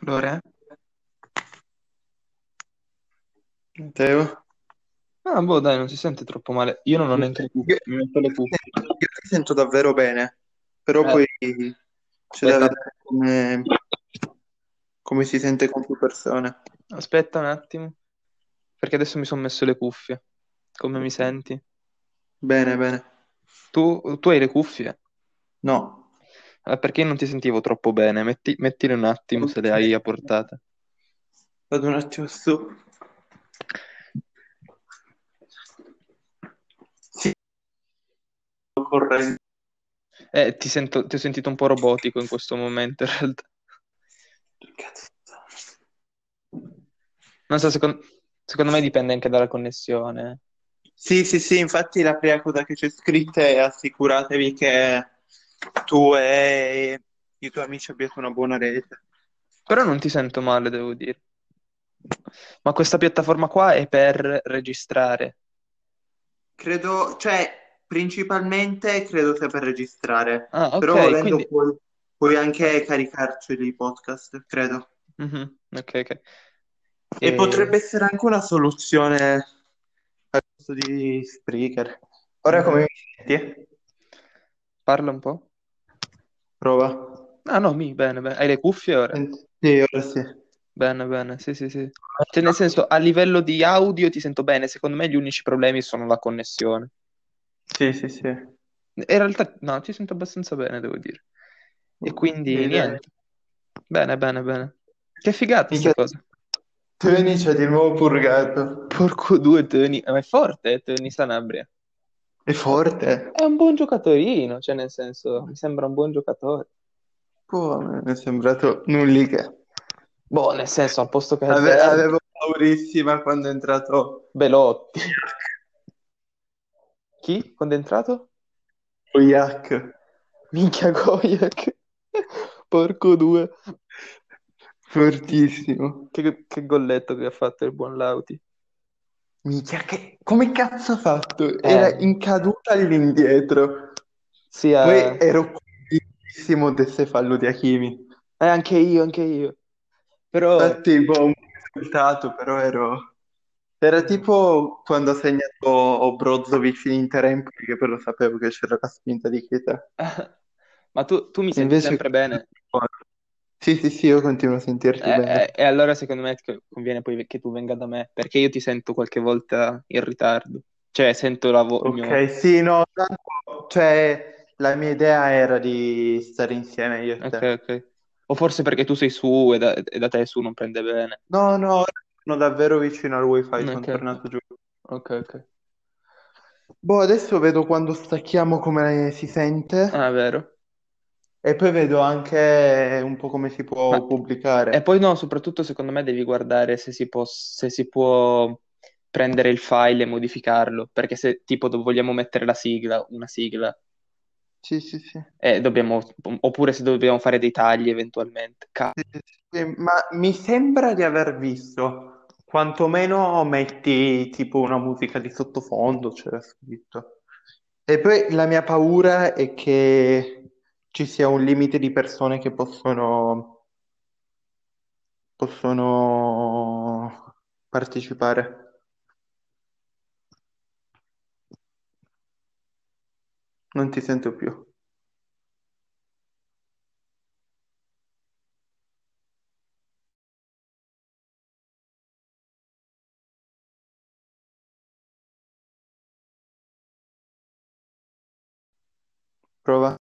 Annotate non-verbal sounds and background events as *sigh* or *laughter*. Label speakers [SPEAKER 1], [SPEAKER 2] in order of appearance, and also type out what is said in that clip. [SPEAKER 1] Lore?
[SPEAKER 2] Matteo?
[SPEAKER 1] Ah, boh, dai, non si sente troppo male. Io non ho neanche le cuffie, mi metto le cuffie.
[SPEAKER 2] Io ti sento davvero bene, però
[SPEAKER 1] Eh.
[SPEAKER 2] poi c'è da
[SPEAKER 1] Aspetta.
[SPEAKER 2] vedere come, come si sente con più persone.
[SPEAKER 1] Aspetta un attimo, perché adesso mi sono messo le cuffie. Come mi senti?
[SPEAKER 2] Bene, bene.
[SPEAKER 1] Tu, tu hai le cuffie?
[SPEAKER 2] No.
[SPEAKER 1] Ah, perché non ti sentivo troppo bene? Metti, mettile un attimo se le hai a portata.
[SPEAKER 2] Vado un attimo su. Sì. Correndo.
[SPEAKER 1] Eh, ti sento, ti ho sentito un po' robotico in questo momento, in realtà.
[SPEAKER 2] Cazzo.
[SPEAKER 1] Non so, secon- secondo me dipende anche dalla connessione. eh.
[SPEAKER 2] Sì, sì, sì, infatti la prima cosa che c'è scritta è assicuratevi che tu e i tuoi amici abbiate una buona rete.
[SPEAKER 1] Però non ti sento male, devo dire. Ma questa piattaforma qua è per registrare.
[SPEAKER 2] Credo, cioè, principalmente credo sia per registrare,
[SPEAKER 1] Ah, ok,
[SPEAKER 2] però volendo
[SPEAKER 1] quindi...
[SPEAKER 2] puoi, puoi anche caricarci dei podcast, credo.
[SPEAKER 1] Mhm, ok, ok.
[SPEAKER 2] E
[SPEAKER 1] E-
[SPEAKER 2] potrebbe essere anche una soluzione al posto di Spreaker. Ora come mi senti?
[SPEAKER 1] Parla un po'.
[SPEAKER 2] Prova.
[SPEAKER 1] Ah, no, mi, bene, bene. Hai le cuffie ora?
[SPEAKER 2] Eh. Sì, ora sì.
[SPEAKER 1] Bene, bene, sì, sì, sì. Cioè, nel senso, a livello di audio ti sento bene, secondo me gli unici problemi sono la connessione.
[SPEAKER 2] Sì, sì, sì.
[SPEAKER 1] In realtà, no, ti sento abbastanza bene, devo dire. E quindi,
[SPEAKER 2] Sì, dai.
[SPEAKER 1] niente. Bene, bene, bene. Che figata sta
[SPEAKER 2] Minchia,
[SPEAKER 1] cosa.
[SPEAKER 2] Tony c'è di nuovo purgato.
[SPEAKER 1] Porco due, Tony. Ma è forte, eh, Tony Sanabria.
[SPEAKER 2] È forte.
[SPEAKER 1] È un buon giocatorino, cioè, nel senso, mi sembra un buon giocatore.
[SPEAKER 2] Boh, mi è sembrato nulliché.
[SPEAKER 1] Boh, nel senso, al posto che
[SPEAKER 2] Ave-
[SPEAKER 1] Alberto,
[SPEAKER 2] avevo paurissima quando è entrato
[SPEAKER 1] Belotti. Chi? Quando è entrato?
[SPEAKER 2] Oyak.
[SPEAKER 1] Minchia Gojek. Porco due.
[SPEAKER 2] Fortissimo.
[SPEAKER 1] Che, che golletto che ha fatto il buon Lauti.
[SPEAKER 2] Minchia, che... come cazzo ha fatto?
[SPEAKER 1] Eh.
[SPEAKER 2] Era in caduta all'indietro.
[SPEAKER 1] Sia...
[SPEAKER 2] Poi ero convintissimo desse fallo di Hakimi.
[SPEAKER 1] Eh, anche io, anche io. Però...
[SPEAKER 2] Infatti, boh, un risultato, però ero... Era tipo quando ha segnato Brozovic in Inter-Empoli, che però sapevo che c'era la spinta di Keita.
[SPEAKER 1] *laughs* Ma tu, tu mi senti
[SPEAKER 2] Invece-
[SPEAKER 1] sempre bene?
[SPEAKER 2] Sì, sì, sì, io continuo a sentirti
[SPEAKER 1] Eh,
[SPEAKER 2] bene.
[SPEAKER 1] eh, e allora secondo me ti conviene poi che tu venga da me, perché io ti sento qualche volta in ritardo. Cioè, sento la vo- il mio...
[SPEAKER 2] Ok, sì, no, tanto- cioè la mia idea era di stare insieme io e
[SPEAKER 1] Ok,
[SPEAKER 2] te.
[SPEAKER 1] ok. O forse perché tu sei su e da, e da te su non prende bene.
[SPEAKER 2] No, no, ora sono davvero vicino al wifi, sono
[SPEAKER 1] Ok,
[SPEAKER 2] tornato giù.
[SPEAKER 1] ok, ok.
[SPEAKER 2] Boh, adesso vedo quando stacchiamo come si
[SPEAKER 1] Ah,
[SPEAKER 2] sente
[SPEAKER 1] è vero.
[SPEAKER 2] e poi vedo anche un po' come si può
[SPEAKER 1] Ma- E
[SPEAKER 2] pubblicare.
[SPEAKER 1] poi no, soprattutto secondo me devi guardare se si può, se si può prendere il file e modificarlo, perché se tipo do- vogliamo mettere la sigla, una sigla,
[SPEAKER 2] Sì, sì, sì.
[SPEAKER 1] eh, dobbiamo, oppure se dobbiamo fare dei tagli eventualmente. Ca-
[SPEAKER 2] Sì, sì, sì, Ma mi sembra di aver visto, quantomeno metti tipo una musica di sottofondo, c'era scritto. E poi la mia paura è che ci sia un limite di persone che possono, possono partecipare. Non ti sento più. Prova.